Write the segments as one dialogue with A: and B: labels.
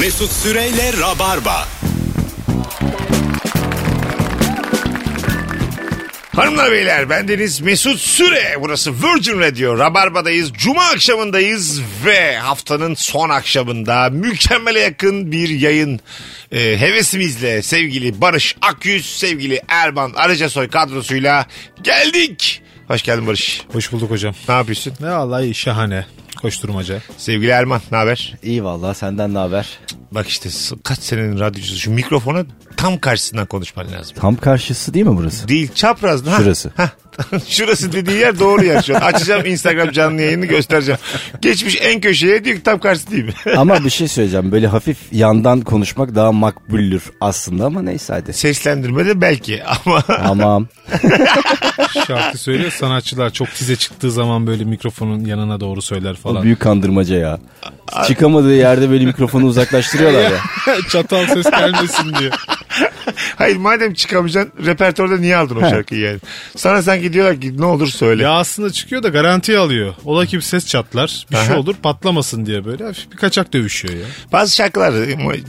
A: Mesut Süreyle Rabarba.
B: Hanımlar beyler bendeniz Mesut Süre. Burası Virgin Radio. Rabarba'dayız. Cuma akşamındayız ve haftanın son akşamında mükemmele yakın bir yayın. Ee, hevesimizle sevgili Barış Akyüz, sevgili Erman Arıcasoy kadrosuyla geldik. Hoş geldin Barış.
C: Hoş bulduk hocam.
B: Ne yapıyorsun?
C: Ne vallahi şahane. Koşturmaca.
B: Sevgili Erman ne haber?
D: İyi valla senden ne haber?
B: Bak işte s- kaç senenin radyocusu. Şu mikrofona tam karşısından konuşman lazım.
D: Tam karşısı değil mi burası?
B: Değil çapraz. Ha,
D: Şurası.
B: ha. Şurası dediği yer doğru yer şu an. Açacağım Instagram canlı yayını göstereceğim. Geçmiş en köşeye diyor ki tam karşısı değil mi?
D: ama bir şey söyleyeceğim. Böyle hafif yandan konuşmak daha makbuldür aslında ama neyse hadi.
B: Seslendirme de belki ama
D: Tamam.
C: Şarkı söylüyor sanatçılar çok tize çıktığı zaman böyle mikrofonun yanına doğru söyler
D: O
C: falan.
D: büyük kandırmaca ya. Çıkamadığı yerde böyle mikrofonu uzaklaştırıyorlar ya.
C: Çatal ses gelmesin diye.
B: hayır madem çıkamayacaksın repertuarda niye aldın o şarkıyı yani? Sana sanki diyorlar ki ne olur söyle.
C: Ya aslında çıkıyor da garantiye alıyor. Ola ki bir ses çatlar bir şey
B: Aha.
C: olur patlamasın diye böyle hafif bir kaçak dövüşüyor ya.
B: Bazı şarkılar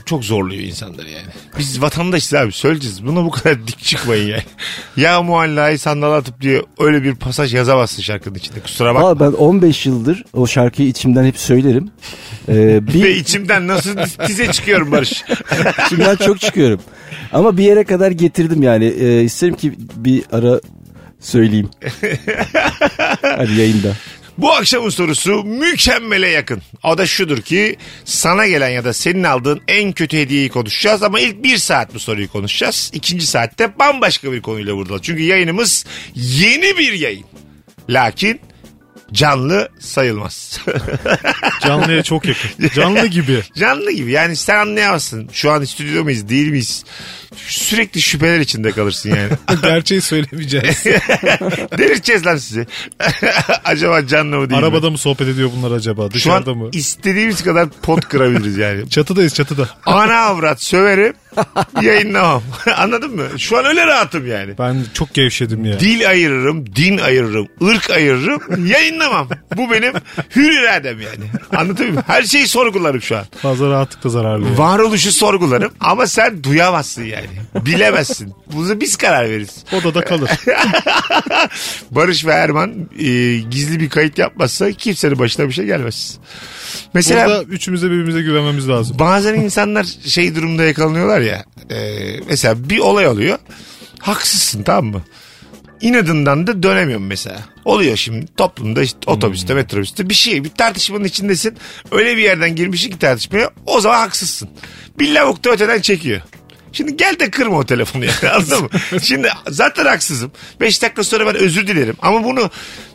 B: çok zorluyor insanları yani. Biz vatandaşız abi söyleyeceğiz. Buna bu kadar dik çıkmayın yani. ya muallayı sandal atıp diye öyle bir pasaj yazamazsın şarkının içinde. Kusura bakma.
D: Valla ben 15 yıldır o şarkıyı içimden hep söylerim. Ee,
B: Ve
D: bir
B: içimden nasıl tize çıkıyorum Barış.
D: içimden çok çıkıyorum. Ama bir yere kadar getirdim yani. Ee, isterim ki bir ara söyleyeyim. Hadi yayında.
B: Bu akşamın sorusu mükemmele yakın. O da şudur ki sana gelen ya da senin aldığın en kötü hediyeyi konuşacağız ama ilk bir saat bu soruyu konuşacağız. İkinci saatte bambaşka bir konuyla burada. Çünkü yayınımız yeni bir yayın. Lakin canlı sayılmaz.
C: Canlıya çok yakın. Canlı gibi.
B: canlı gibi yani sen anlayamazsın. Şu an stüdyoda mıyız değil miyiz? Sürekli şüpheler içinde kalırsın yani.
C: Gerçeği söylemeyeceğiz.
B: Delirteceğiz lan sizi. Acaba canlı mı değil mi?
C: Arabada mı sohbet ediyor bunlar acaba?
B: Şu
C: Dışarıda
B: an
C: mı?
B: istediğimiz kadar pot kırabiliriz yani.
C: Çatıdayız çatıda.
B: Ana avrat söverim yayınlamam. Anladın mı? Şu an öyle rahatım yani.
C: Ben çok gevşedim ya.
B: Dil ayırırım, din ayırırım, ırk ayırırım, yayınlamam. Bu benim hür iradem yani. Anlatabiliyor muyum? Her şeyi sorgularım şu an.
C: Fazla rahatlıkla zararlı. ya.
B: Varoluşu sorgularım ama sen duyamazsın yani. Bilemezsin. Bunu biz karar veririz.
C: Odada kalır.
B: Barış ve Erman e, gizli bir kayıt yapmazsa kimsenin başına bir şey gelmez. Mesela
C: Burada üçümüze birbirimize güvenmemiz lazım.
B: Bazen insanlar şey durumda yakalanıyorlar ya. e, mesela bir olay oluyor. Haksızsın tamam mı? İnadından da dönemiyorum mesela. Oluyor şimdi toplumda işte otobüste metrobüste bir şey bir tartışmanın içindesin. Öyle bir yerden girmişsin ki tartışmaya o zaman haksızsın. Bir lavuk da öteden çekiyor. Şimdi gel de kırma o telefonu yani anladın mı? Şimdi zaten haksızım. 5 dakika sonra ben özür dilerim. Ama bunu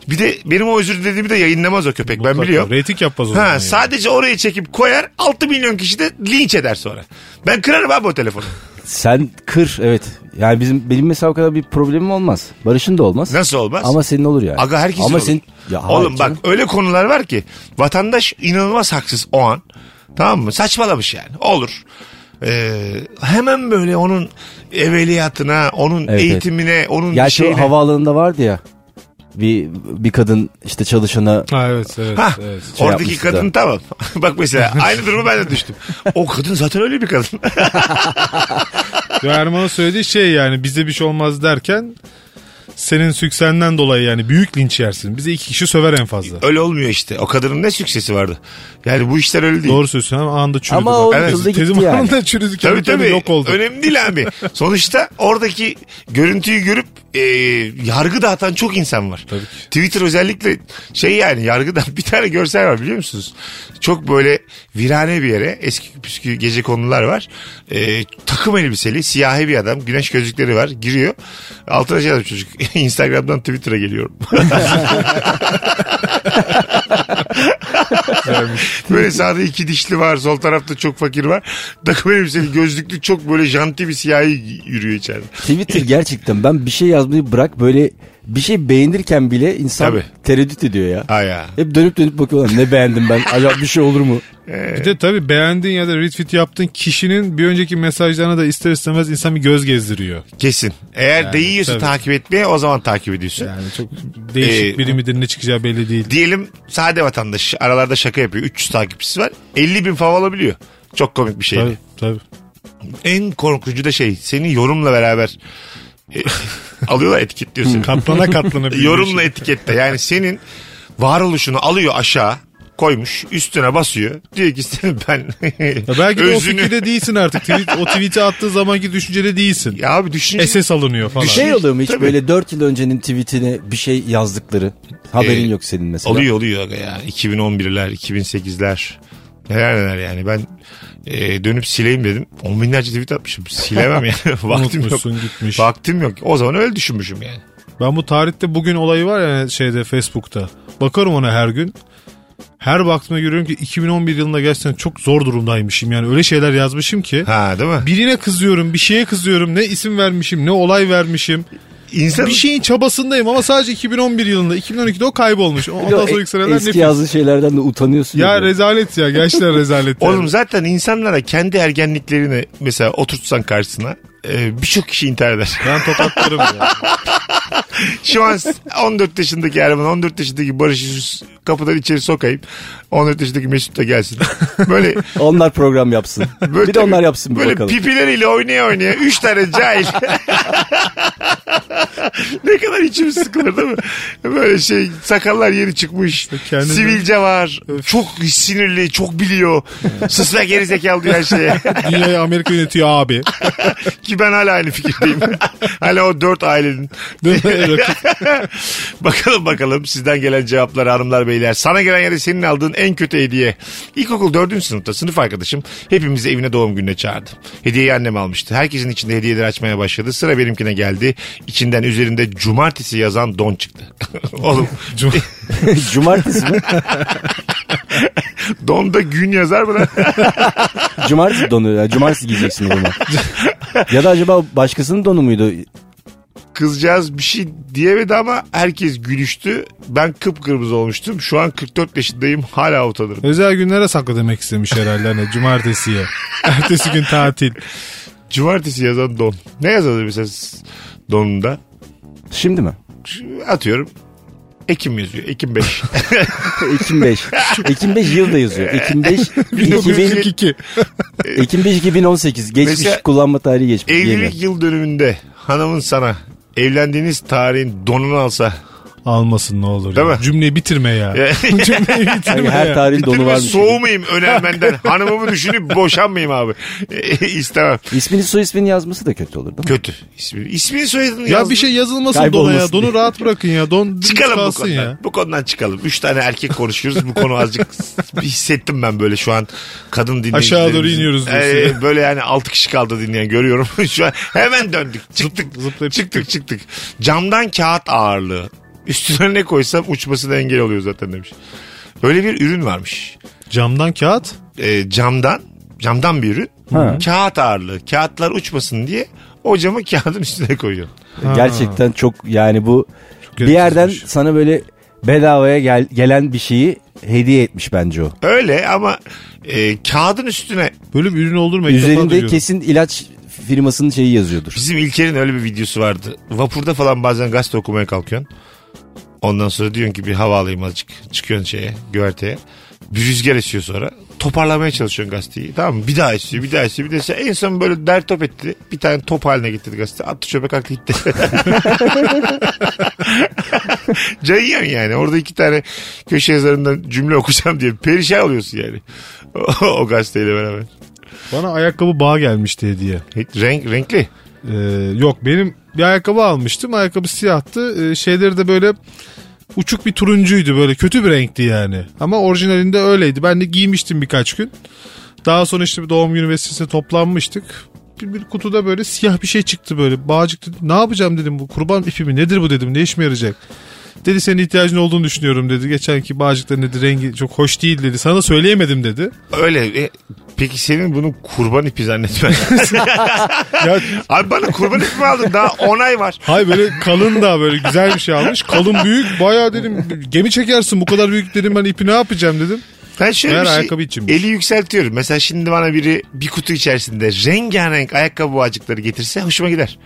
B: bir de benim o özür dilediğimi de yayınlamaz o köpek ben biliyorum.
C: Rating yapmaz o zaman.
B: Ha,
C: yani.
B: sadece oraya çekip koyar 6 milyon kişi de linç eder sonra. Ben kırarım abi o telefonu.
D: Sen kır evet. Yani bizim benim mesela o kadar bir problemim olmaz. Barış'ın da olmaz.
B: Nasıl olmaz?
D: Ama senin olur yani.
B: Aga herkesin
D: Ama
B: olur.
D: senin ya hayır
B: Oğlum bak
D: canım.
B: öyle konular var ki vatandaş inanılmaz haksız o an. Tamam mı? Saçmalamış yani. Olur. Ee, hemen böyle onun evveliyatına, onun
D: Evet,
B: eğitimine, onun
D: Ya
B: şeyine.
D: şu havaalanında vardı ya. Bir bir kadın işte çalışana
C: Ha, evet evet.
B: Ha,
C: evet.
D: Şey
B: oradaki
D: yapmıştı
B: kadın tamam. Bak mesela aynı duruma ben de düştüm. O kadın zaten öyle bir kadın.
C: Ya Erman'ın söylediği şey yani bize bir şey olmaz derken senin süksenden dolayı yani büyük linç yersin. Bize iki kişi söver en fazla.
B: öyle olmuyor işte. O kadının ne süksesi vardı. Yani bu işler öyle değil.
C: Doğru söylüyorsun ama anında çürüdü.
D: Ama
C: bak.
D: o
B: Evet.
D: hızlı gitti
C: Tezim
D: yani.
C: anında çürüdü.
B: Tabii
C: Kendi
B: tabii.
C: kendine yok oldu.
B: Önemli değil abi. Sonuçta oradaki görüntüyü görüp e, yargı dağıtan çok insan var.
C: Tabii ki.
B: Twitter özellikle şey yani yargıdan bir tane görsel var biliyor musunuz? Çok böyle virane bir yere eski püskü gece konular var. E, takım elbiseli siyahi bir adam güneş gözlükleri var giriyor. Altına şey yazmış çocuk Instagram'dan Twitter'a geliyorum. Böyle sağda iki dişli var. Sol tarafta çok fakir var. Takım elbiseli gözlüklü çok böyle janti bir siyahi yürüyor içeride.
D: Twitter gerçekten ben bir şey yazmayı bırak böyle bir şey beğenirken bile insan
B: Tabii.
D: tereddüt ediyor ya.
B: Ha ya.
D: Hep dönüp dönüp bakıyorlar ne beğendim ben acaba bir şey olur mu?
C: Bir de tabii beğendiğin ya da retweet yaptığın kişinin bir önceki mesajlarına da ister istemez insan bir göz gezdiriyor.
B: Kesin. Eğer değiyorsa
C: tabii.
B: takip etmeye o zaman takip ediyorsun.
C: Yani çok değişik
B: Ee,
C: biri midir ne çıkacağı belli değil.
B: Diyelim sade vatandaş aralarda şaka yapıyor. 300 takipçisi var. 50 bin fav alabiliyor. Çok komik bir şeydi.
C: Tabii tabii.
B: En korkucu da şey seni yorumla beraber e, alıyorlar etiketliyor seni.
C: Katlana katlana. bir
B: yorumla
C: şey.
B: etikette. Yani senin varoluşunu alıyor aşağı koymuş üstüne basıyor. Diyor ki sen ben
C: Ya belki de o
B: özünü-
C: fikirde değilsin artık. Tweet, o tweet'i attığı zamanki düşüncede değilsin.
B: Ya abi düşünce
C: SS alınıyor falan.
B: Düşün-
D: Şey oluyor mu hiç
B: Tabii.
D: böyle 4 yıl öncenin tweetine bir şey yazdıkları? Haberin
B: Ee,
D: yok senin mesela.
B: oluyor oluyor aga ya. 2011'ler, 2008'ler. Neler neler yani. Ben e, dönüp sileyim dedim. On binlerce tweet atmışım. Silemem yani. Vaktim yok.
C: Unutmuşsun gitmiş.
B: Vaktim yok. O zaman öyle düşünmüşüm yani.
C: Ben bu tarihte bugün olayı var ya şeyde Facebook'ta. Bakarım ona her gün. Her baktığımda görüyorum ki 2011 yılında gerçekten çok zor durumdaymışım. Yani öyle şeyler yazmışım ki.
B: Ha değil mi?
C: Birine kızıyorum, bir şeye kızıyorum. Ne isim vermişim, ne olay vermişim.
B: İnsan
C: Bir şey- şeyin çabasındayım ama sadece 2011 yılında. 2012'de o kaybolmuş.
D: Bir de o
C: Ondan sonra
D: e-
C: yükselenler
D: eski
C: nefis.
D: yazdığı şeylerden de utanıyorsun.
C: Ya
D: böyle.
C: rezalet ya. Gerçekten rezalet. yani.
B: Oğlum zaten insanlara kendi ergenliklerini mesela oturtsan karşısına e, birçok kişi intihar eder.
C: Ben tokatlarım ya.
B: Şu an 14 yaşındaki Erman 14 yaşındaki Barış'ı şu kapıdan içeri sokayım. 14 yaşındaki Mesut da gelsin. Böyle
D: Onlar program yapsın.
B: Böyle
D: bir de onlar
B: tabii,
D: yapsın bir
B: Böyle
D: bakalım.
B: pipileriyle oynaya oynaya. Üç tane cahil. ne kadar içim sıkılır değil mi? Böyle şey sakallar yeni çıkmış.
C: Kendini-
B: Sivilce var. Çok sinirli, çok biliyor. Sus ve gerizekalı diyor her şeye.
C: Dünyayı Amerika yönetiyor abi.
B: Ki ben hala aynı fikirdeyim. hala o dört ailenin.
C: Değil mi? Evet.
B: bakalım bakalım sizden gelen cevaplar hanımlar beyler. Sana gelen ya da senin aldığın en kötü hediye. İlkokul 4. sınıfta sınıf arkadaşım hepimizi evine doğum gününe çağırdı. Hediyeyi annem almıştı. Herkesin içinde hediyeleri açmaya başladı. Sıra benimkine geldi. İçinden üzerinde cumartesi yazan don çıktı. Oğlum
D: Cumartesi mi?
B: donda gün yazar mı lan?
D: Cumartesi donu. ya. Cumartesi giyeceksin o zaman. ya da acaba başkasının donu muydu?
B: Kızcağız bir şey diyemedi ama herkes gülüştü. Ben kıpkırmızı olmuştum. Şu an 44 yaşındayım. Hala utanırım.
C: Özel günlere saklı demek istemiş herhalde. Hani cumartesiye. Ertesi gün tatil.
B: Cumartesi yazan don. Ne yazardı mesela donunda?
D: Şimdi mi?
B: atıyorum Ekim yazıyor. Ekim 5.
D: Ekim 5. Ekim 5 yılda yazıyor. Ekim 5 2000,
C: 1942.
D: Ekim 5 2018 geçmiş
B: Mesela
D: kullanma tarihi geçmiş. Yeni.
B: Evlilik yıl dönümünde hanımın sana evlendiğiniz tarihin donunu alsa.
C: Almasın ne olur.
B: Değil
C: ya.
B: mi?
C: Cümleyi bitirme ya. Cümleyi bitirme
D: Yani her
C: ya.
D: tarihin donu
B: Bitirme
D: varmış.
B: soğumayayım önermenden. Hanımımı düşünüp boşanmayayım abi. İstemem.
D: İsmini soy ismini yazması da kötü olur değil mi?
B: Kötü. İsmi, ismini soyadını
C: Ya
B: yazdım.
C: bir şey yazılmasın dona
D: Kaybolmasın
C: ya.
D: diye.
C: Donu rahat bırakın ya. Don dümdüz
B: Çıkalım bu
C: kalsın
B: konudan.
C: ya.
B: Bu konudan çıkalım. Üç tane erkek konuşuyoruz. Bu konu azıcık hissettim ben böyle şu an kadın dinleyicilerimizin.
C: Aşağı doğru iniyoruz diyorsun.
B: Ee, böyle yani altı kişi kaldı dinleyen görüyorum. şu an hemen döndük. Çıktık.
C: zıplayıp
B: çıktık çıktık. Camdan kağıt ağırlığı. Üstüne ne koysam uçmasına engel oluyor zaten demiş. Böyle bir ürün varmış.
C: Camdan kağıt.
B: Ee, camdan camdan bir ürün.
D: Ha.
B: Kağıt ağırlığı. Kağıtlar uçmasın diye o camı kağıdın üstüne koyuyorum.
D: Gerçekten çok yani bu bir
C: gereksizmiş.
D: yerden sana böyle bedavaya gel- gelen bir şeyi hediye etmiş bence o.
B: Öyle ama e, kağıdın üstüne
C: Böyle bir ürün olur mu? İlk defa
D: Üzerinde
C: duyuyorum.
D: kesin ilaç firmasının şeyi yazıyordur.
B: Bizim İlker'in öyle bir videosu vardı. Vapurda falan bazen gazete okumaya kalkıyorsun. Ondan sonra diyorsun ki bir hava alayım azıcık. Çıkıyorsun şeye, güverteye. Bir rüzgar esiyor sonra. Toparlamaya çalışıyorsun gazeteyi. Tamam mı? Bir daha esiyor, bir daha esiyor, bir daha esiyor. En son böyle der top etti. Bir tane top haline getirdi gazete. Attı çöpe kalktı gitti. Cayyan yani. Orada iki tane köşe yazarından cümle okuyacağım diye perişan oluyorsun yani. O, o gazeteyle beraber.
C: Bana ayakkabı bağ gelmişti hediye.
B: Renk, renkli.
C: Ee, yok benim bir ayakkabı almıştım. Ayakkabı siyahtı. Ee, şeyleri de böyle uçuk bir turuncuydu. Böyle kötü bir renkti yani. Ama orijinalinde öyleydi. Ben de giymiştim birkaç gün. Daha sonra işte bir doğum günü vesilesiyle toplanmıştık. Bir, bir kutuda böyle siyah bir şey çıktı böyle. Bağ çıktı. Ne yapacağım dedim bu kurban ipi mi nedir bu dedim ne işime yarayacak. Dedi senin ihtiyacın olduğunu düşünüyorum dedi. Geçenki bağcıkların dedi rengi çok hoş değil dedi. Sana söyleyemedim dedi.
B: Öyle. E, peki senin bunu kurban ipi zannetmen.
C: Ya
B: Abi bana kurban ipi mi aldın? Daha 10 ay var.
C: Hay böyle kalın da böyle güzel bir şey almış. Kalın büyük bayağı dedim gemi çekersin bu kadar büyük dedim ben ipi ne yapacağım dedim.
B: Ben şöyle
C: Meğer
B: bir şey,
C: ayakkabı içinmiş.
B: eli yükseltiyorum. Mesela şimdi bana biri bir kutu içerisinde rengarenk ayakkabı bağcıkları getirse hoşuma gider.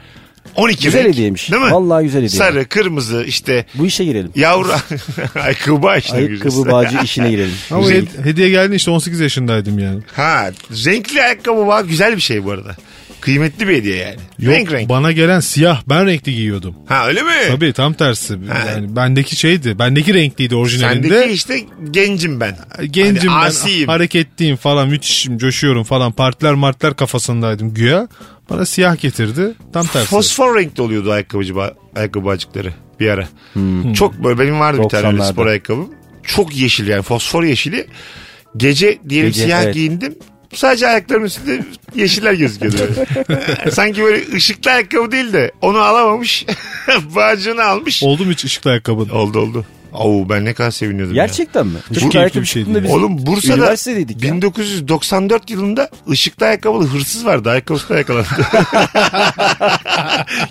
B: 12
D: Güzel
B: renk.
D: hediyeymiş.
B: Değil mi?
D: Vallahi güzel hediye.
B: Sarı, kırmızı işte
D: Bu işe girelim.
B: yavru ayakkabı bağışına
D: Ayakkabı bağcı işine girelim.
C: Ama
B: Güzel.
C: hed- hediye geldi işte 18 yaşındaydım yani.
B: Ha renkli ayakkabı bağ güzel bir şey bu arada. Kıymetli bir hediye yani.
C: Yok
B: renk renk.
C: bana gelen siyah ben renkli giyiyordum.
B: ha öyle mi?
C: Tabii tam tersi.
B: Ha.
C: Yani bendeki şeydi. Bendeki renkliydi orijinalinde.
B: Sendeki işte gencim ben.
C: Gencim
B: Hani
C: ben
B: asiyim.
C: hareketliyim falan müthişim coşuyorum falan partiler martlar kafasındaydım güya. Bana siyah getirdi tam tersi.
B: Fosfor renkli oluyordu ayakkabıcı ba- ayakkabı acıkları bir ara.
D: Hmm.
B: Hmm. Çok böyle benim vardı bir tane öyle
D: 90'larda.
B: spor ayakkabım. Çok yeşil yani fosfor yeşili. Gece diyelim
D: Gece,
B: siyah
D: evet.
B: giyindim. Sadece ayaklarımın üstünde yeşiller gözüküyordu. böyle. Sanki böyle ışıklı ayakkabı değil de onu alamamış. Bağcığını almış.
C: Oldu mu hiç ışıklı ayakkabı?
B: oldu oldu. Oo, ben ne kadar seviniyordum ya.
D: Gerçekten mi?
C: keyifli
D: Işıklı ayakkabı
C: bir şey
D: çıktığında
C: değil.
D: biz
B: Oğlum Bursa'da
D: üniversitedeydik ya.
B: 1994 yılında ışıkta ayakkabılı hırsız vardı. Ayakkabısı da yakalandı.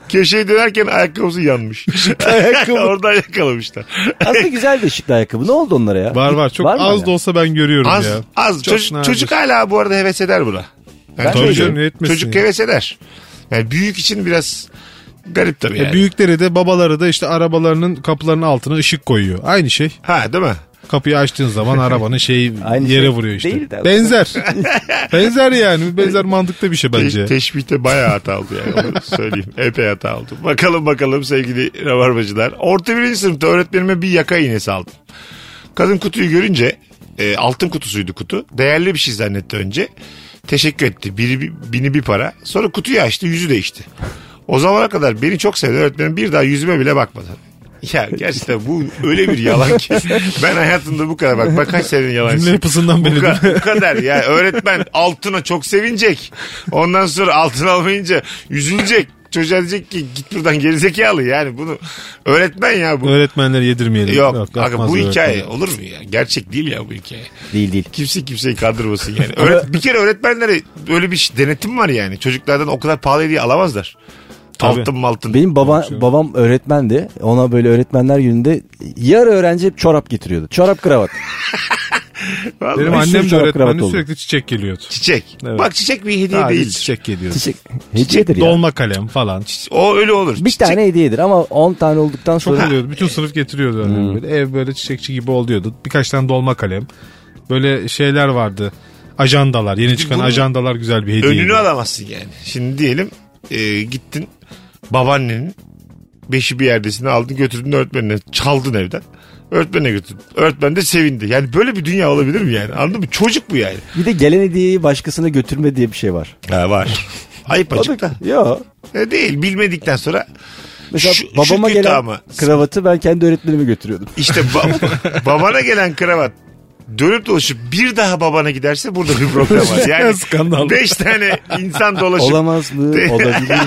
B: Köşeyi dönerken ayakkabısı yanmış.
D: ayakkabı.
B: Oradan yakalamışlar.
D: Aslında güzel bir ışıklı ayakkabı. Ne oldu onlara ya?
C: Var var çok
D: mı
C: az
D: hala?
C: da olsa ben görüyorum
B: Az,
C: ya.
B: az.
C: Çok
B: çocuk,
C: nadir.
B: çocuk hala bu arada heves eder buna. Yani
D: Ben
C: Tabii
D: de
C: canım,
D: diyorum.
C: ne etmesin
B: çocuk
C: ya.
B: heves eder. Yani büyük için biraz garip tabii
C: Ya
B: yani.
C: E, büyükleri de babaları da işte arabalarının kapılarının altına ışık koyuyor. Aynı şey.
B: Ha değil mi?
C: Kapıyı açtığın zaman arabanın şeyi
D: Aynı
C: yere
D: şey
C: vuruyor işte.
D: değil de-
C: Benzer. benzer yani. Benzer mantıkta bir şey bence.
B: Te- teşbihte bayağı hata oldu yani. Onu söyleyeyim. Epey hata oldu. Bakalım bakalım sevgili rabarbacılar. Orta birinci sınıfta öğretmenime bir yaka iğnesi aldım. Kadın kutuyu görünce e, altın kutusuydu kutu. Değerli bir şey zannetti önce. Teşekkür etti. Biri, bi- bini bir para. Sonra kutuyu açtı yüzü değişti. O zamana kadar beni çok sevdi öğretmenim bir daha yüzüme bile bakmadı. Ya gerçekten bu öyle bir yalan ki. Ben hayatımda bu kadar bak. Bak kaç senenin yalancısıyım.
C: Cümle yapısından
B: Bu
C: belli
B: ka-
C: değil
B: bu kadar ya. Öğretmen altına çok sevinecek. Ondan sonra altın almayınca üzülecek. Çocuğa diyecek ki git buradan gerizekalı yani bunu öğretmen ya bu.
C: Öğretmenleri yedirmeyelim.
B: Yok, aga
C: yapmaz
B: bu
C: öğretmen.
B: hikaye olur mu ya? Gerçek değil ya bu hikaye.
D: Değil değil.
B: Kimse kimseyi kandırmasın yani. Öğret- bir kere öğretmenlere böyle bir şey- denetim var yani. Çocuklardan o kadar pahalı hediye alamazlar.
C: Tabii.
B: Altın maltın.
D: Benim baba, babam öğretmendi. Ona böyle öğretmenler gününde yarı öğrenci hep çorap getiriyordu. Çorap kravat.
B: Vallahi
C: Benim
D: Bir sürü
C: annem de
D: çorap
C: öğretmenli
D: kravat oldu.
C: sürekli çiçek geliyordu.
B: Çiçek.
C: Evet.
B: Bak çiçek bir hediye
C: Sadece
B: değil.
C: çiçek geliyordu.
D: Çiçek. Hediyedir ya.
C: Dolma kalem falan.
B: O öyle olur.
D: Bir
B: Çiçek-
D: tane hediyedir ama 10 tane olduktan
C: Çok
D: sonra
C: oluyordu. Bütün sınıf getiriyordu. annem
D: Hmm.
C: Böyle. Ev böyle çiçekçi gibi oluyordu. Birkaç tane dolma kalem. Böyle şeyler vardı. Ajandalar. Yeni çıkan
B: bunun
C: ajandalar güzel bir hediye.
B: Önünü alamazsın yani. Şimdi diyelim e, gittin babaannenin beşi bir yerdesini aldın götürdün öğretmenine çaldın evden. Öğretmenine götürdün. Öğretmen de sevindi. Yani böyle bir dünya olabilir mi yani? Anladın mı? Çocuk bu yani.
D: bir de gelen hediyeyi başkasına götürme diye bir şey var.
B: Ha var. Ayıp açık da.
D: Yo.
B: E, değil bilmedikten sonra
D: Mesela
B: Şu- şu
D: babama
B: kötü
D: gelen
B: ama.
D: kravatı ben kendi öğretmenime götürüyordum.
B: işte ba- babana gelen kravat dönüp dolaşıp bir daha babana giderse burada bir problem var. Yani
C: Skandal.
B: beş tane insan dolaşıp
D: Olamaz mı? Olabilir.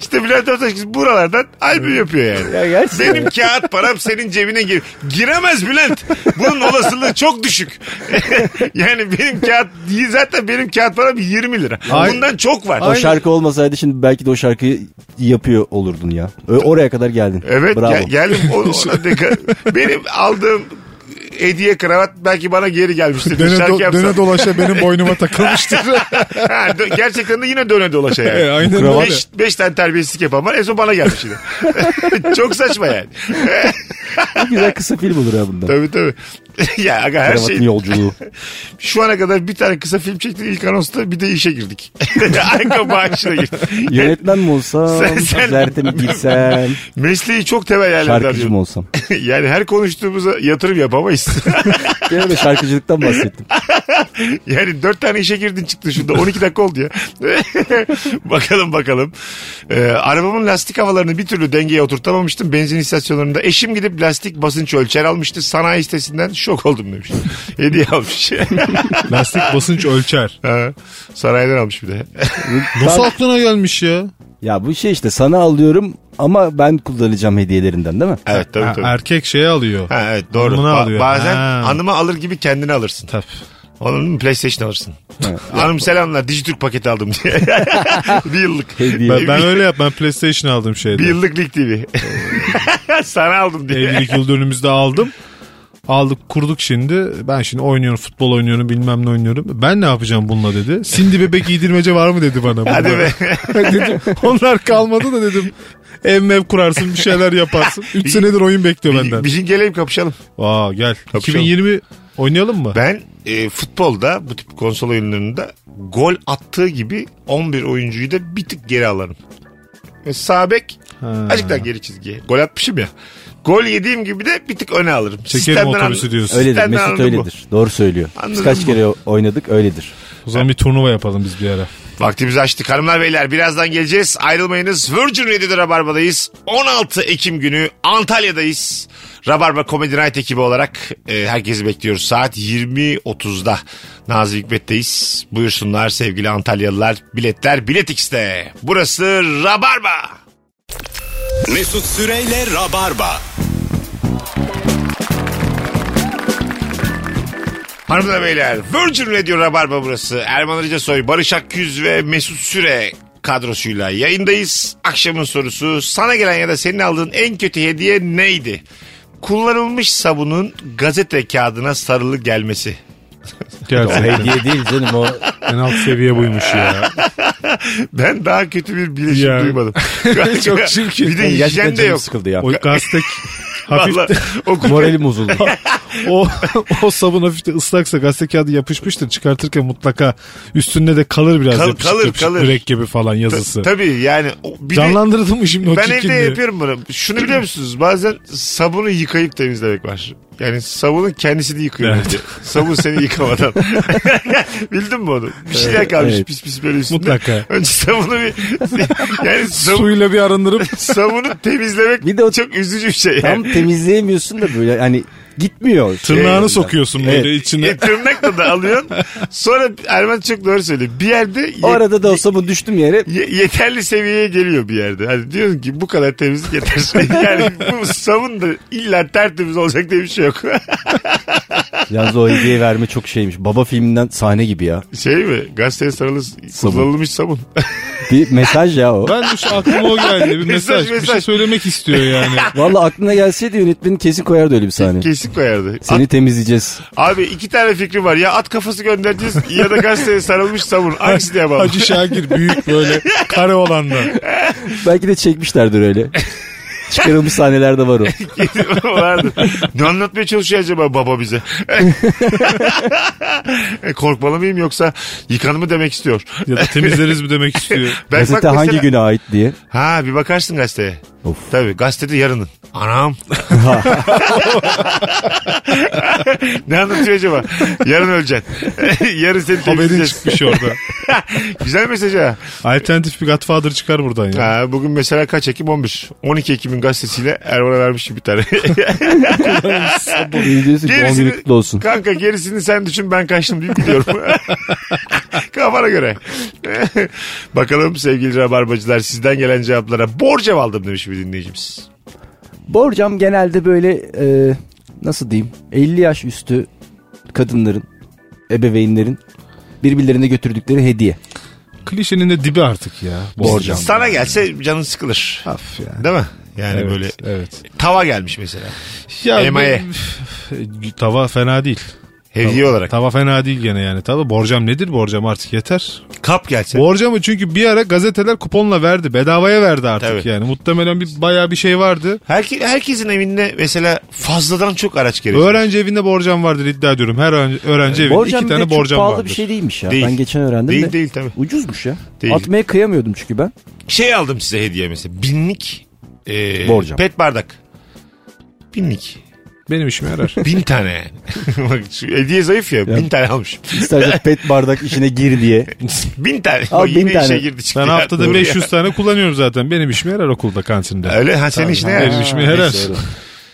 B: İşte Bülent Ersoy buralardan albüm yapıyor yani.
D: Ya gerçekten.
B: Benim kağıt param senin cebine gir. Giremez Bülent. Bunun olasılığı çok düşük. yani benim kağıt zaten benim kağıt param 20 lira.
C: Ay-
B: Bundan çok var.
D: o şarkı olmasaydı şimdi belki de o şarkıyı yapıyor olurdun ya. Ö- Oraya kadar geldin.
B: Evet
D: Bravo.
B: gel- geldim o- ona dikkat- Benim aldığım hediye kravat belki bana geri gelmiştir.
C: Döne,
B: şarkı yapsam.
C: dolaşa benim boynuma takılmıştır.
B: Ha, dö- gerçekten de yine döne dolaşa yani.
C: Aynen öyle.
B: Beş, beş tane terbiyesizlik yapan var. En son bana gelmiş yine. çok saçma yani.
D: Ne güzel kısa film olur ha bundan.
B: tabii tabii. ya aga her
D: Kravatın
B: şey
D: yolculuğu.
B: Şu ana kadar bir tane kısa film çektik ilk anonsta bir de işe girdik. Arka bağışına girdik.
D: Yönetmen mi olsam,
B: Sen- sen-
D: zerte mi girsem,
B: Mesleği çok temel yerlerden.
D: şarkıcı mı
B: diyorum.
D: olsam?
B: yani her konuştuğumuza yatırım yapamayız.
D: Gene de şarkıcılıktan bahsettim.
B: yani dört tane işe girdin çıktın şurada 12 dakika oldu ya. bakalım bakalım. Ee, arabamın lastik havalarını bir türlü dengeye oturtamamıştım. Benzin istasyonlarında eşim gidip lastik basınç ölçer almıştı. Sanayi sitesinden şok oldum demiş. Hediye almış.
C: Lastik basınç ölçer.
B: Ha, Sanayiden almış bir de.
C: Nasıl aklına gelmiş ya?
D: Ya bu şey işte sana alıyorum ama ben kullanacağım hediyelerinden değil mi?
B: evet tabii
C: Ha,
B: tabii.
C: erkek şey alıyor.
B: Ha, evet doğru.
C: Hanımını
B: Ba-
C: alıyor.
B: bazen
C: Ha.
B: hanıma alır gibi kendini alırsın.
C: Tabii.
B: Onun mu PlayStation alırsın. Hanım selamlar Digiturk paketi aldım diye. bir yıllık.
D: Hediye.
C: Ben, ben
B: bir,
C: öyle yap. Ben PlayStation aldım şeyde.
B: bir yıllık Lig TV. Sana aldım diye.
C: Evlilik yıl dönümümüzde aldım. Aldık kurduk şimdi. Ben şimdi oynuyorum futbol oynuyorum bilmem ne oynuyorum. Ben ne yapacağım bununla dedi. Sindi bebek giydirmece var mı dedi bana.
B: Hadi be.
C: dedim, onlar kalmadı da dedim. Ev mev kurarsın bir şeyler yaparsın. 3 senedir oyun bekliyor benden.
B: Bir gün geleyim kapışalım.
C: Aa gel.
B: Kapışalım.
C: 2020 oynayalım mı?
B: Ben e, futbolda bu tip konsol oyunlarında gol attığı gibi 11 oyuncuyu da bir tık geri alırım. E, Sağ bek
C: Ha.
B: azıcık daha geri çizgiye. Gol atmışım ya. Gol yediğim gibi de bir tık öne alırım.
C: Çekerim
B: Sistemden
C: otobüsü
B: an-
C: diyorsun.
D: Öyledir
B: Sizden de
D: Mesut
B: anladım
D: öyledir. Doğru söylüyor. Biz
B: Anladım
D: kaç
B: bu.
D: kere oynadık öyledir.
C: O zaman bir turnuva yapalım biz bir ara.
B: Vaktimizi açtık hanımlar beyler. Birazdan geleceğiz. Ayrılmayınız. Virgin Radio'da Rabarba'dayız. 16 Ekim günü Antalya'dayız. Rabarba Comedy Night ekibi olarak e, herkesi bekliyoruz. Saat 20.30'da Nazım Hikmet'teyiz. Buyursunlar sevgili Antalyalılar. Biletler Bilet X'te. Burası Rabarba.
A: Mesut Süreyle Rabarba.
B: Hanımlar beyler Virgin Radio Rabarba burası. Erman Arıca Soy, Barış Akküz ve Mesut Süre kadrosuyla yayındayız. Akşamın sorusu sana gelen ya da senin aldığın en kötü hediye neydi? Kullanılmış sabunun gazete kağıdına sarılı gelmesi.
C: Gerçekten.
D: Hediye değil canım o.
C: en alt seviye buymuş ya.
B: Ben daha kötü bir bileşim
C: Ya.
B: duymadım.
C: Çok çirkin.
B: Bir de
D: Yani
B: hijyen
D: gerçekten
B: de
D: canım
B: yok.
D: sıkıldı ya.
C: O gaztek hafif
B: Vallahi o
D: Moralim bozuldu.
C: o, o sabun hafif de ıslaksa gazete kağıdı yapışmıştır. Çıkartırken mutlaka üstünde de kalır biraz
B: Kal-
C: yapışık
B: kalır,
C: yapışık.
B: kalır.
C: Mürekkebi falan yazısı.
B: tabii yani o- bir de-
C: Canlandırdın mı şimdi o
B: ben evde
C: çirkinliği?
B: yapıyorum bunu. Şunu biliyor musunuz? Bazen sabunu yıkayıp temizlemek var. Yani sabunun kendisini yıkıyor.
C: Evet.
B: önce. Sabun seni yıkamadan. Bildin mi onu? Bir şeyler kalmış
D: Evet.
B: pis pis böyle üstünde.
C: Mutlaka.
B: Önce sabunu bir... Yani sabun,
C: Suyla bir arındırıp
B: sabunu temizlemek
D: Bir de o-
B: çok üzücü bir şey.
D: Tam
B: Yani.
D: temizleyemiyorsun da böyle hani gitmiyor. şey
C: tırnağını
B: Şey,
C: sokuyorsun böyle
D: Evet.
C: içine.
B: E, tırnakla da alıyorsun. Sonra Erman çok doğru söylüyor. Bir yerde ye-
D: O arada da o sabun düştüm yere
B: ye- yeterli seviyeye geliyor bir yerde. Hani diyorsun ki bu kadar temizlik yeter. Yani bu sabun da illa tertemiz olacak diye bir şey yok.
D: Yalnız o hediye verme çok şeymiş. Baba filminden sahne gibi ya.
B: Şey mi? Gazeteye sarılı
D: Sabun.
B: kullanılmış sabun.
D: Bir mesaj ya o.
C: Ben şu aklıma o geldi. Bir
B: Mesaj,
C: mesaj, bir şey
B: mesaj.
C: söylemek istiyor yani.
D: Valla aklına gelseydi yönetmenin kesin koyardı öyle bir sahne.
B: Kesin koyardı.
D: Seni temizleyeceğiz.
B: At- abi iki tane fikrim var. Ya at kafası göndereceğiz ya da gazeteye sarılmış sabun. Hangisi de yapalım?
C: Hacı Şakir büyük böyle kare olandan.
D: Belki de çekmişlerdir öyle. Çıkarılmış sahnelerde var o.
B: Vardı. Ne anlatmaya çalışıyor acaba baba bize? E, Korkmalı mıyım yoksa yıkanımı demek istiyor.
C: Ya da temizleriz mi demek istiyor.
B: Ben bak
D: Gazete
B: mesela-
D: hangi güne ait diye.
B: Ha bir bakarsın gazeteye.
D: Of.
B: Tabii gazetede yarının. Anam. ne anlatıyor acaba? Yarın öleceksin. Yarın seni
C: Haberin
B: temizleyeceğiz.
C: çıkmış orada.
B: Güzel mesaj ha.
C: Alternatif bir Godfather çıkar buradan ya.
B: Ha, bugün mesela kaç Ekim? 11. 12 Ekim'in gazetesiyle Erman'a vermişim bir tane.
D: İyi diyorsun ki doğum günü kutlu olsun.
B: Kanka gerisini sen düşün ben kaçtım deyip gidiyorum. Kafana göre. Bakalım sevgili rabarbacılar sizden gelen cevaplara. Borç ev aldım demiş bir dinleyicimiz.
D: Borcam genelde böyle e, nasıl diyeyim 50 yaş üstü kadınların, ebeveynlerin birbirlerine götürdükleri hediye.
C: Klişenin de dibi artık ya.
D: Borcam.
B: Sana gelse canın sıkılır.
C: Af ya.
B: Değil mi? Yani
C: Evet,
B: böyle
C: evet.
B: tava gelmiş mesela.
C: Ya
B: Emaye.
C: ben- tava fena değil.
B: Hediye olarak.
C: Tava fena değil gene yani. Tava borcam nedir? Borcam artık yeter.
B: Kap gelse.
C: Borcamı çünkü bir ara gazeteler kuponla verdi. Bedavaya verdi artık
B: Tabii.
C: yani. Muhtemelen bir bayağı bir şey vardı.
B: Herke, herkesin evinde mesela fazladan çok araç gerekiyor.
C: Öğrenci evinde borcam vardır iddia ediyorum. Her öğrenci, öğrenci evinde
D: Borcam
C: iki
D: bir de
C: tane
D: çok
C: borcam
D: pahalı
C: vardır.
D: bir şey değilmiş ya.
B: Değil.
D: Ben geçen öğrendim
B: Değil
D: de.
B: değil tabii.
D: Ucuzmuş ya.
B: Değil.
D: Atmaya kıyamıyordum çünkü ben.
B: Şey aldım size hediye mesela. Binlik e,
D: Borcam.
B: pet bardak. Binlik.
C: Benim işime yarar.
B: Bin tane yani. Bak şu hediye zayıf ya. Bin tane almışım.
D: İstersen pet bardak işine gir diye.
B: Bin tane.
D: Al,
B: O
D: bin
B: yine işe
D: tane.
B: girdi çıktı.
C: Ben
B: ya. Doğru
C: haftada
B: ya.
C: 500 tane kullanıyorum zaten. Benim işime yarar okulda kantinde.
B: Öyle ha senin işine
C: Benim
B: yarar.
C: işime yarar.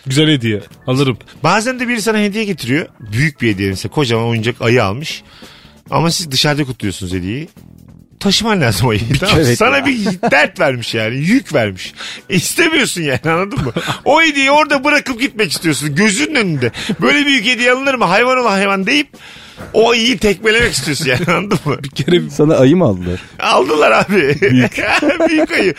C: Güzel hediye. Alırım.
B: Bazen de biri sana hediye getiriyor. Büyük bir hediye mesela. Kocaman oyuncak ayı almış. Ama siz dışarıda kutluyorsunuz hediyeyi. Taşıman lazım ayıyı. tamam mı?
D: evet
B: sana bir dert vermiş yani. Yük vermiş. İstemiyorsun yani anladın mı? O hediyeyi orada bırakıp gitmek istiyorsun. Gözünün önünde. Böyle büyük hediye alınır mı? Hayvan olan hayvan deyip O iyi tekmelemek istiyorsun yani anladın mı?
C: Bir kere
D: Sana ayı mı aldılar?
B: Aldılar abi. Büyük. ayı.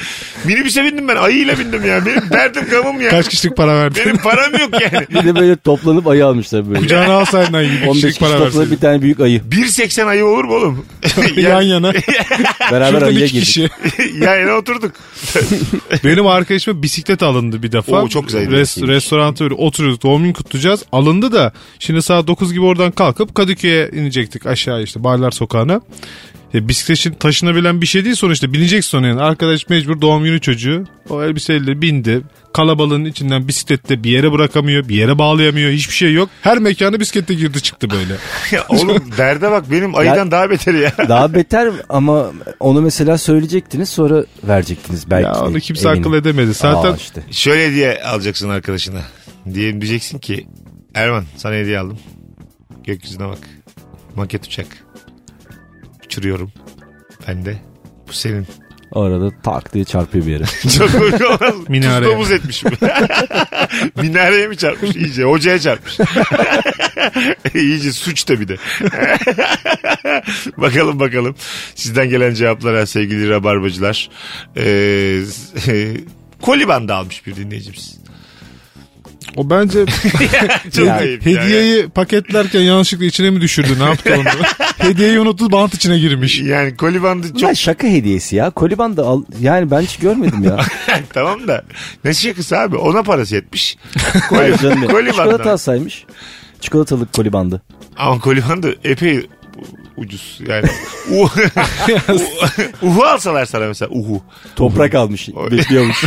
B: Minibüse bindim ben. Ayıyla bindim ya. Benim derdim gamım ya.
C: kaç kişilik para verdin?
B: Benim param yok yani.
D: Bir de böyle toplanıp ayı almışlar böyle.
C: Kucağına alsaydın ayı. Bir
D: 15
C: kişilik
D: kişi
C: para
D: toplanıp
C: verseydin.
D: bir tane büyük ayı.
B: 1.80 ayı olur mu oğlum?
C: Yan yana.
D: Beraber
C: Şurada
D: ayıya
C: bir
D: girdik.
C: kişi.
B: Yan yana oturduk.
C: Benim arkadaşıma bisiklet alındı bir defa.
B: Oo, çok güzel.
C: Res, restoranta böyle oturuyorduk. Doğum günü kutlayacağız. Alındı da şimdi saat 9 gibi oradan kalkıp Kadıköy'e inecektik aşağı işte Barlar Sokağı'na. E, bisiklet şimdi taşınabilen bir şey değil sonuçta. Bineceksin ona yani. Arkadaş mecbur doğum günü çocuğu. O elbiseyle bindi. Kalabalığın içinden bisiklette bir yere bırakamıyor. Bir yere bağlayamıyor. Hiçbir şey yok. Her mekana bisikletle girdi çıktı böyle.
B: Ya oğlum derde bak benim ayıdan daha beteri ya.
D: Daha beter ama onu mesela söyleyecektiniz sonra verecektiniz belki.
C: ya
D: de,
C: onu kimse
D: eminim.
C: akıl edemedi. Zaten
D: Aa işte.
B: Şöyle diye alacaksın arkadaşına. Diye diyeceksin ki Erman sana hediye aldım. Gökyüzüne bak. Maket uçak. Uçuruyorum. Ben de. Bu senin.
D: O arada tak diye çarpıyor bir yere.
B: Çok komik olmaz.
C: Minareye.
B: Minareye. domuz etmişim. Minareye mi çarpmış? İyice hocaya çarpmış. İyice suç da bir de. bakalım bakalım. Sizden gelen cevaplara sevgili rabarbacılar. Ee, kolibandı almış bir dinleyicimiz.
C: o bence
B: Çok
D: Ya,
B: ayıp ya.
C: hediyeyi paketlerken yanlışlıkla içine mi düşürdü? Ne yaptı onu? hediyeyi unuttu bant içine girmiş.
B: Yani kolibandı çok
D: Bunlar şaka hediyesi ya. Koliban da al. Yani ben hiç görmedim ya.
B: tamam da ne şakası abi ona parası yetmiş.
D: Hayır canım benim. Çikolata
B: kolibandı.
D: alsaymış. Çikolatalık kolibandı.
B: Ama kolibandı epey ucuz yani. U- uhu alsalar sana mesela uhu.
D: Toprak almış. Bekliyormuş.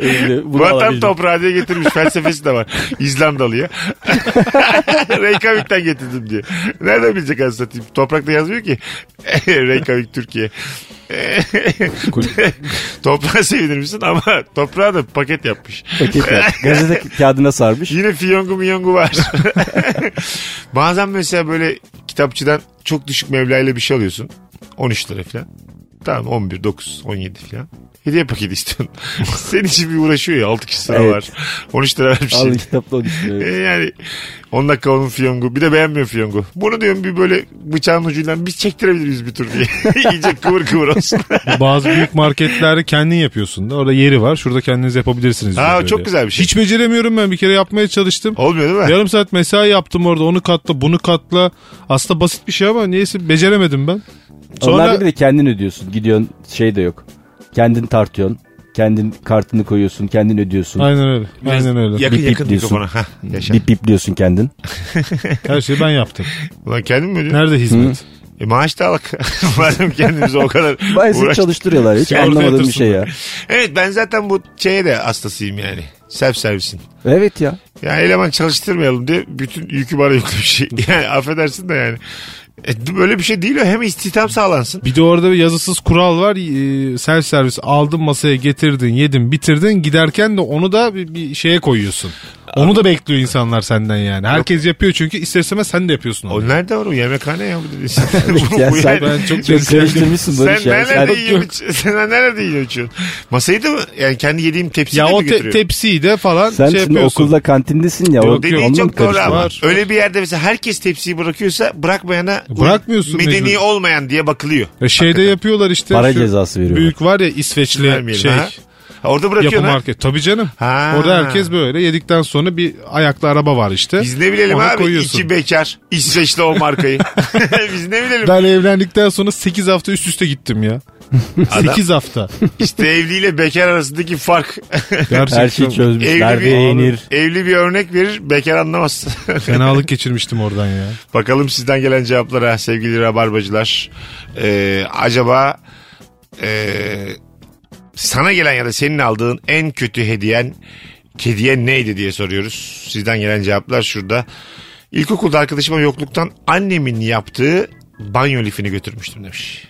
D: Evde bunu
B: Vatan
D: alabildim.
B: toprağı diye getirmiş felsefesi de var. İzlandalı'ya. Reykjavik'ten getirdim diye. Nereden bilecek az satayım? Toprakta yazmıyor ki. Reykjavik Türkiye. Toprağa sevinir misin ama toprağa da paket yapmış.
D: Paket var. Gazete kağıdına sarmış.
B: Yine fiyongu miyongu var. Bazen mesela böyle kitapçıdan çok düşük mevlayla bir şey alıyorsun. 13 lira falan. Tamam 11, 9, 17 falan. Hediye paketi istiyorsun. Senin için bir uğraşıyor ya 6 kişi sıra
D: Evet.
B: var. 13 lira vermiş.
D: Al
B: şey.
D: kitapta onu
B: E
D: düşünüyorum.
B: yani 10 dakika onun fiyongu. Bir de beğenmiyor fiyongu. Bunu diyorum bir böyle bıçağın ucuyla biz çektirebiliriz bir tur diye. İyice kıvır kıvır olsun.
C: Bazı büyük marketlerde kendin yapıyorsun da. Orada yeri var. Şurada kendiniz yapabilirsiniz. diyor
B: Ha,
C: böyle.
B: çok güzel Oh. bir şey.
C: Hiç beceremiyorum ben. Bir kere yapmaya çalıştım.
B: Olmuyor değil mi?
C: Yarım saat mesai yaptım orada. Onu katla, bunu katla. Aslında basit bir şey ama niyeyse beceremedim ben.
D: Onlar
C: Sonra
D: bir de kendin ödüyorsun. Gidiyorsun şey de yok. Kendin tartıyorsun. Kendin kartını koyuyorsun. Kendin ödüyorsun.
C: Aynen öyle. Aynen öyle.
B: Yakın
D: Bip bip
B: yakın
D: diyorsun.
B: mikrofona. Hah, yaşa.
D: Bip bip diyorsun kendin.
C: Her şeyi ben yaptım.
B: Ulan kendim mi ödüyorum?
C: Nerede hizmet?
B: E maaş da alak. Madem kendimize o kadar
D: Bayağı
B: uğraş-
D: çalıştırıyorlar. Hiç
C: Sigorta
D: anlamadığım bir
C: yatırsın.
D: şey ya.
B: Evet ben zaten bu şeye de hastasıyım yani. Self servisin.
D: Evet ya.
B: Ya eleman çalıştırmayalım diye bütün yükü bana yüklü bir şey. Yani affedersin de yani. E, böyle bir şey değil o. Hem istihdam sağlansın.
C: Bir de orada bir yazısız kural var. Ee, Self servis aldın masaya getirdin, yedin, bitirdin. Giderken de onu da bir, bir şeye koyuyorsun. Onu da bekliyor insanlar senden yani. Herkes yapıyor çünkü ister istemez sen de yapıyorsun onu.
B: O nerede var o yemekhane ya bu dediğin. Bu- bu
D: ya
B: yani-
D: sen, şey
C: ben çok-
D: çok karıştırmışsın
B: Sen
D: Barış ya.
B: nerede
D: Sen,
B: yiyorsun? iç- Sen nerede yiyorsun? içiyorsun? Masayı da mı? Yani kendi yediğim tepsiyi
C: Ya
B: de
C: o
B: mi
C: te-
B: götürüyor?
C: tepsiyi de falan
D: sen
C: şey
D: şimdi
C: yapıyorsun.
D: okulda kantindesin ya.
C: Yok,
D: o,
B: Dediğin
D: onunla mı
B: çok doğru
D: karıştırdın?
B: ama
C: Var.
B: öyle bir yerde mesela herkes tepsiyi bırakıyorsa bırakmayana
C: Bırakmıyorsun
B: medeni
C: mecbur.
B: olmayan diye bakılıyor.
C: E şeyde yapıyorlar işte.
D: Para
C: şu
D: cezası veriyorlar.
C: Büyük var ya İsveçli
B: Vermeyelim,
C: şey.
B: ha? Ha, Orada
C: Yapı
B: bırakıyorsun ha.
C: market. Tabii canım.
B: Ha.
C: Orada herkes böyle yedikten sonra bir ayaklı araba var işte.
B: Biz ne bilelim
C: Ona
B: abi içi bekar İsveçli o markayı. Biz ne bilelim
C: Ben evlendikten sonra 8 hafta üst üste gittim ya. 8 hafta.
B: işte evliyle bekar arasındaki fark.
C: Gerçekten.
D: Her şeyi çözmüş.
B: evli,
D: Nerede
B: bir,
D: yenir?
B: evli bir örnek verir bekar anlamaz.
C: Fenalık geçirmiştim oradan ya.
B: Bakalım sizden gelen cevaplara sevgili rabarbacılar. Ee, acaba ee, sana gelen ya da senin aldığın en kötü hediyen kediye neydi diye soruyoruz. Sizden gelen cevaplar şurada. İlkokulda arkadaşıma yokluktan annemin yaptığı banyo lifini götürmüştüm demiş.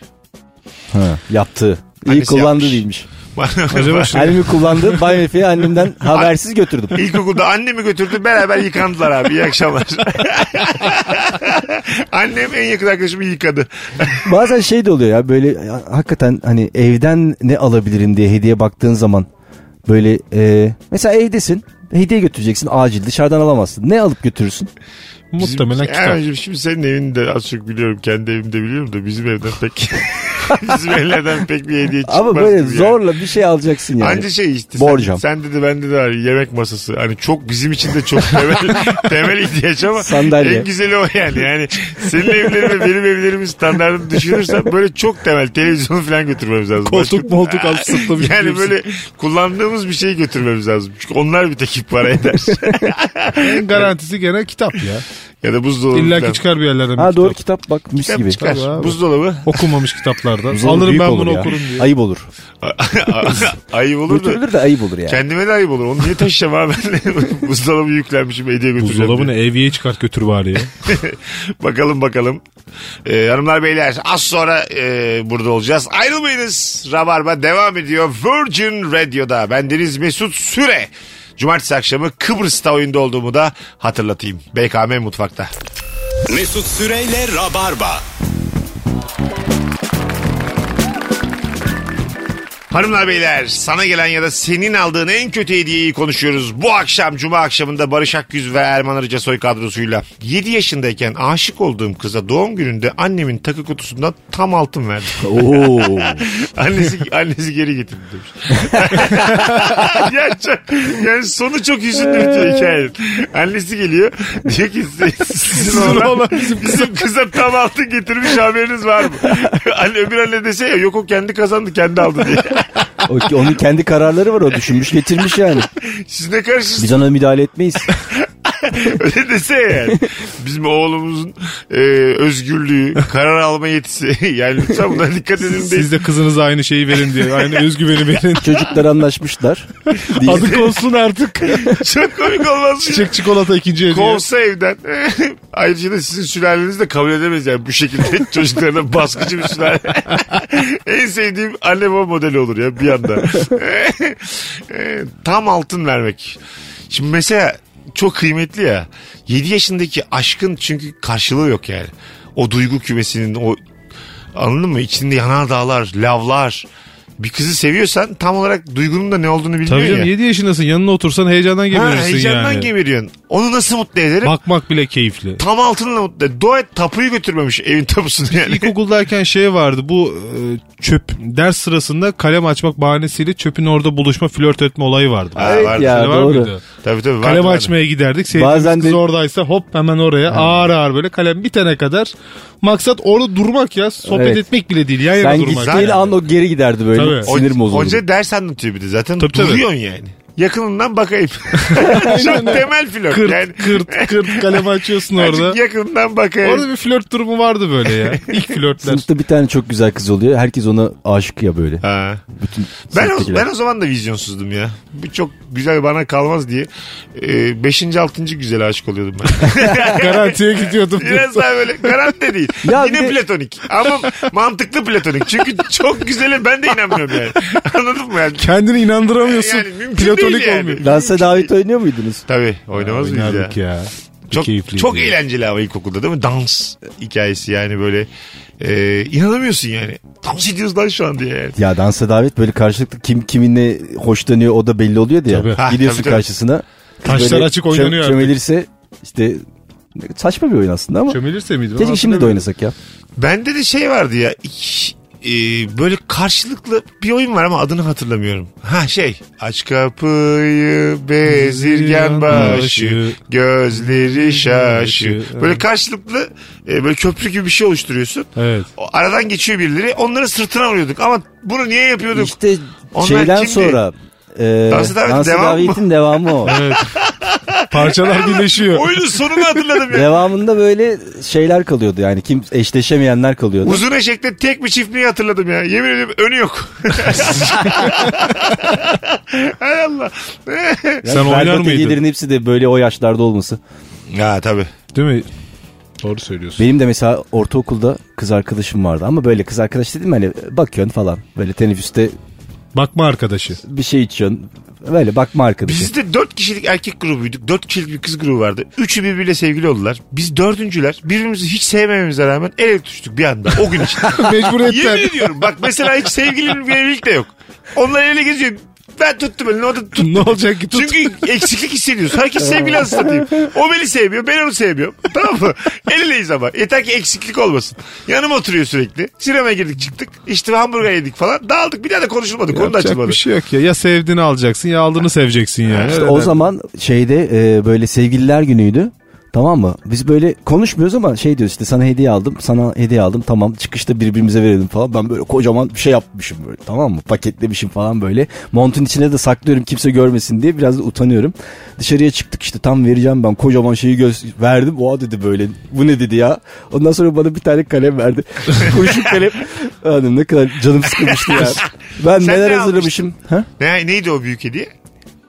D: Ha, yaptığı. İyi
B: Annesi
D: kullandı
B: yapmış.
D: değilmiş.
C: Acaba şu
D: Annemi kullandı. Bay Efe'yi annemden habersiz götürdüm.
B: İlkokulda annemi götürdü beraber yıkandılar abi iyi akşamlar. Annem en yakın arkadaşımı yıkadı.
D: Bazen şey de oluyor ya böyle ya, hakikaten hani evden ne alabilirim diye hediye baktığın zaman böyle e, mesela evdesin hediye götüreceksin acil dışarıdan alamazsın. Ne alıp götürürsün?
B: Bizim-
C: Muhtemelen kitap.
B: Erman'cığım şimdi senin evini de az çok biliyorum. Kendi evimde biliyorum da bizim evden pek bizim evlerden pek bir hediye çıkmaz.
D: Ama böyle
B: gibi yani.
D: zorla bir şey alacaksın yani.
B: Anca şey işte.
D: Borcam.
B: Sen, sen dedi bende de var yemek masası. Hani çok bizim için de çok temel, temel ihtiyaç ama
D: Sandalye.
B: en güzeli o yani. Yani senin evlerin ve benim evlerimin standartını düşünürsen böyle çok temel televizyonu falan götürmemiz lazım.
C: Koltuk
B: Başka-
C: moltuk alıp sırtlamış.
B: yani
C: gidiyorsun.
B: böyle kullandığımız bir şey götürmemiz lazım. Çünkü onlar bir tek para eder.
C: En garantisi gene kitap ya.
B: ya da buzdolabı
C: İlla
B: falan.
C: ki çıkar bir yerlerden bir
D: Ha doğru
C: kitap.
D: kitap bak mis
B: Kitap
D: gibi.
B: çıkar.
C: Tabii abi.
B: Buzdolabı.
C: Okunmamış kitaplardan.
D: Zor,
C: Alırım
D: büyük
C: ben
D: olur
C: bunu
D: ya.
C: okurum diye.
D: Ayıp olur.
B: ayıp olur da.
D: Götürülür de ayıp olur yani.
B: Kendime de ayıp olur. Onu niye taşıyacağım abi ben? Buzdolabı yüklenmişim hediye götüreceğim.
C: Buzdolabını
B: diye.
C: evye çıkart götür bari ya.
B: Bakalım bakalım. Ee, hanımlar beyler az sonra e, burada olacağız. Ayrılmayınız. Rabarba devam ediyor. Virgin Radio'da. Ben Deniz Mesut Süre. Cumartesi akşamı Kıbrıs'ta oyunda olduğumu da hatırlatayım. BKM Mutfak'ta.
A: Mesut Süreyle Rabarba.
B: Hanımlar beyler sana gelen ya da senin aldığın en kötü hediyeyi konuşuyoruz. Bu akşam Cuma akşamında Barış Akgüz ve Erman Arıca soy kadrosuyla 7 yaşındayken aşık olduğum kıza doğum gününde annemin takı kutusundan tam altın verdim.
D: Oo.
B: annesi, annesi geri getirdi demiş. yani, çok, yani sonu çok hüzünlü bitiyor hikayenin. Annesi geliyor diyor ki "Siz- sizin oğlan bizim, kıza tam altın getirmiş haberiniz var mı? Anne, öbür anne dese ya yok o kendi kazandı kendi aldı diye.
D: O- onun kendi kararları var o düşünmüş getirmiş yani.
B: Siz ne karışırsınız?
D: Biz ona müdahale etmeyiz.
B: Öyle dese yani. Bizim oğlumuzun e, özgürlüğü, karar alma yetisi. Yani lütfen buna dikkat edin değil.
C: Siz de kızınıza aynı şeyi verin diye. Aynı özgüveni verin.
D: Çocuklar anlaşmışlar. Diye.
C: Adık olsun artık.
B: Çok komik olmaz. mı?
C: Çiçek çikolata ikinci hediye.
B: Kovsa evden. Ayrıca da sizin sülaleniz de kabul edemez yani bu şekilde çocuklarına baskıcı bir sülale. en sevdiğim anne baba modeli olur ya bir anda. E, Tam altın vermek. Şimdi mesela çok kıymetli ya. 7 yaşındaki aşkın çünkü karşılığı yok yani. O duygu kümesinin o anladın mı? İçinde yanar dağlar, lavlar. Bir kızı seviyorsan tam olarak duygunun da ne olduğunu
C: Tabii
B: bilmiyorsun
C: canım
B: ya.
C: 7 yaşındasın yanına otursan heyecandan
B: Ha,
C: geberirsin
B: heyecandan
C: yani.
B: geberiyorsun. Onu nasıl mutlu ederim?
C: Bakmak bile keyifli.
B: tam altınla mutlu. Dua et tapuyu götürmemiş evin tapusunu yani.
C: İlkokuldayken şey vardı bu e, çöp ders sırasında kalem açmak bahanesiyle çöpün orada buluşma flört etme olayı vardı.
B: Ha,
D: Evet
B: vardı.
D: ya
C: Öyle var
D: doğru.
C: mıydı?
B: Tabii tabii. vardı,
C: Kalem
B: vardı.
C: açmaya giderdik. Sevdiğimiz
D: Bazen
C: kız
D: de-
C: oradaysa hop hemen oraya ağır ağır böyle kalem bitene kadar. Maksat orada durmak ya. Sohbet
D: Evet.
C: etmek bile değil. Yan yana
D: Ben
C: durmak.
D: gittiğin an o geri giderdi böyle.
C: Tabii.
D: Sinir bozuldu.
B: Hoca ders anlatıyor bir de zaten
C: Tabii, tabii.
B: duruyorsun yani. Yakınından bakayım. Çok temel flört
C: Kırt
B: yani.
C: kırt kırt kalem açıyorsun
B: Azıcık
C: orada.
B: yakından bakayım.
C: Orada bir flört durumu vardı böyle ya. İlk flörtler.
D: Sınıfta bir tane çok güzel kız oluyor. Herkes ona aşık ya böyle.
B: Ha.
D: Bütün
B: Ben o,
D: sınıftakiler.
B: ben o zaman da vizyonsuzdum ya. Bu çok güzel bana kalmaz diye. Ee, beşinci, altıncı güzel aşık oluyordum ben.
C: Garantiye gidiyordum.
B: Biraz daha böyle garanti de değil.
D: Ya
B: Yine
D: bir de-
B: platonik. Ama mantıklı platonik. Çünkü çok güzele ben de inanmıyorum yani. Anladın mı yani?
C: Kendini inandıramıyorsun.
B: Yani mümkün
C: Platonik
B: değil yani.
C: olmuyor.
D: Dansa davet oynuyor muydunuz?
B: Tabii oynamaz mıyız ya?
C: Oynardık ya.
B: Çok,
C: keyifliydi
B: çok
C: ya.
B: eğlenceli ama ilkokulda değil mi? Dans hikayesi yani böyle. E, inanamıyorsun yani. Dans ediyoruz lan şu an diye yani.
D: Ya dansa davet böyle karşılıklı kim kiminle hoşlanıyor o da belli oluyor diye.
C: Tabii.
B: Ha,
D: Gidiyorsun
B: tabii, tabii.
D: karşısına. Kız
C: Taşlar
D: böyle
C: açık oynanıyor artık.
D: Çömelirse işte saçma bir oyun aslında ama.
C: Çömelirse miydi?
D: Keşke şimdi de oynasak ya.
B: Bende de şey vardı ya. iki- e, böyle karşılıklı bir oyun var ama adını hatırlamıyorum. Ha şey. Aç kapıyı bezirgen başı gözleri şaşı. Böyle karşılıklı e, böyle köprü gibi bir şey oluşturuyorsun.
C: Evet.
B: O aradan geçiyor birileri. Onların sırtına vuruyorduk ama bunu niye yapıyorduk?
D: İşte
B: Onlar
D: şeyden
B: kimdi?
D: sonra. E,
B: Dansa davetin
D: Dansa
B: devamı mı?
D: davetin devamı o.
C: Evet. Parçalar birleşiyor.
B: Oyunun sonunu hatırladım ya.
D: Devamında böyle şeyler kalıyordu yani kim eşleşemeyenler kalıyordu.
B: Uzun eşekte tek bir çiftliği hatırladım ya. Yemin ediyorum önü yok. Hay Allah.
D: Yani
C: Sen oynar
D: berbat
C: mıydın?
D: hediyelerin hepsi de böyle o yaşlarda olması.
B: ya tabii.
C: Değil mi? Doğru söylüyorsun.
D: Benim de mesela ortaokulda kız arkadaşım vardı ama böyle kız arkadaş dedim hani bakıyorsun falan. Böyle teneffüste
C: Bakma arkadaşı.
D: bir şey içiyorsun. Böyle bakma arkadaşı.
B: Biz de dört kişilik erkek grubuyduk. Dört kişilik bir kız grubu vardı. Üçü birbiriyle sevgili oldular. Biz dördüncüler. Birbirimizi hiç sevmememize rağmen el ele tutuştuk bir anda. O gün için. Yemin
C: Mecburiyetten.
B: ediyorum. Bak mesela hiç sevgilinin bir evlilik de yok. Onlar ele geziyor. Ben tuttum elini o da tuttu.
C: ne olacak ki tut.
B: Çünkü eksiklik hissediyoruz. Herkes sevgili hastasıyım. O beni sevmiyor, ben onu sevmiyorum. Tamam mı? El eleyiz ama. Yeter ki eksiklik olmasın. Yanıma oturuyor sürekli. Sinemaya girdik çıktık. İşte hamburger yedik falan. Dağıldık. Bir daha da konuşulmadı. Konu da
C: Yapacak
B: açılmadı.
C: bir şey yok ya. Ya sevdiğini alacaksın ya aldığını seveceksin yani.
D: İşte o zaman şeyde e, böyle sevgililer günüydü. Tamam mı? Biz böyle konuşmuyoruz ama şey diyoruz işte sana hediye aldım, sana hediye aldım. Tamam çıkışta birbirimize verelim falan. Ben böyle kocaman bir şey yapmışım böyle tamam mı? Paketlemişim falan böyle. Montun içine de saklıyorum kimse görmesin diye biraz da utanıyorum. Dışarıya çıktık işte tam vereceğim ben kocaman şeyi göz verdim. Oha dedi böyle bu ne dedi ya. Ondan sonra bana bir tane kalem verdi. Kurşun kalem. Hanım ne kadar canım sıkılmıştı ya. Ben
B: Sen
D: neler
B: ne
D: hazırlamışım. Ha?
B: Ne, neydi o büyük hediye?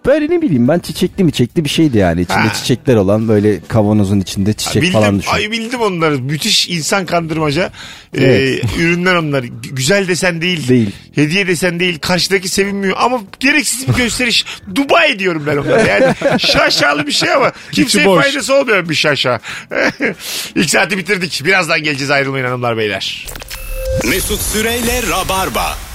D: Böyle ne bileyim ben çiçekli mi çekli bir şeydi yani. İçinde
B: Ha.
D: çiçekler olan böyle kavanozun içinde çiçek
B: bildim.
D: falan düşün.
B: Ay bildim onları. Müthiş insan kandırmaca. Ee,
D: Evet.
B: ürünler onlar. G- Güzel desen değil.
D: Değil.
B: Hediye desen değil. Karşıdaki sevinmiyor. Ama gereksiz bir gösteriş. Dubai diyorum ben onlara. Yani şaşalı bir şey ama kimseye
C: boş.
B: faydası olmuyor bir şaşa. İlk saati bitirdik. Birazdan geleceğiz ayrılmayın hanımlar beyler.
A: Mesut Süreyle Rabarba.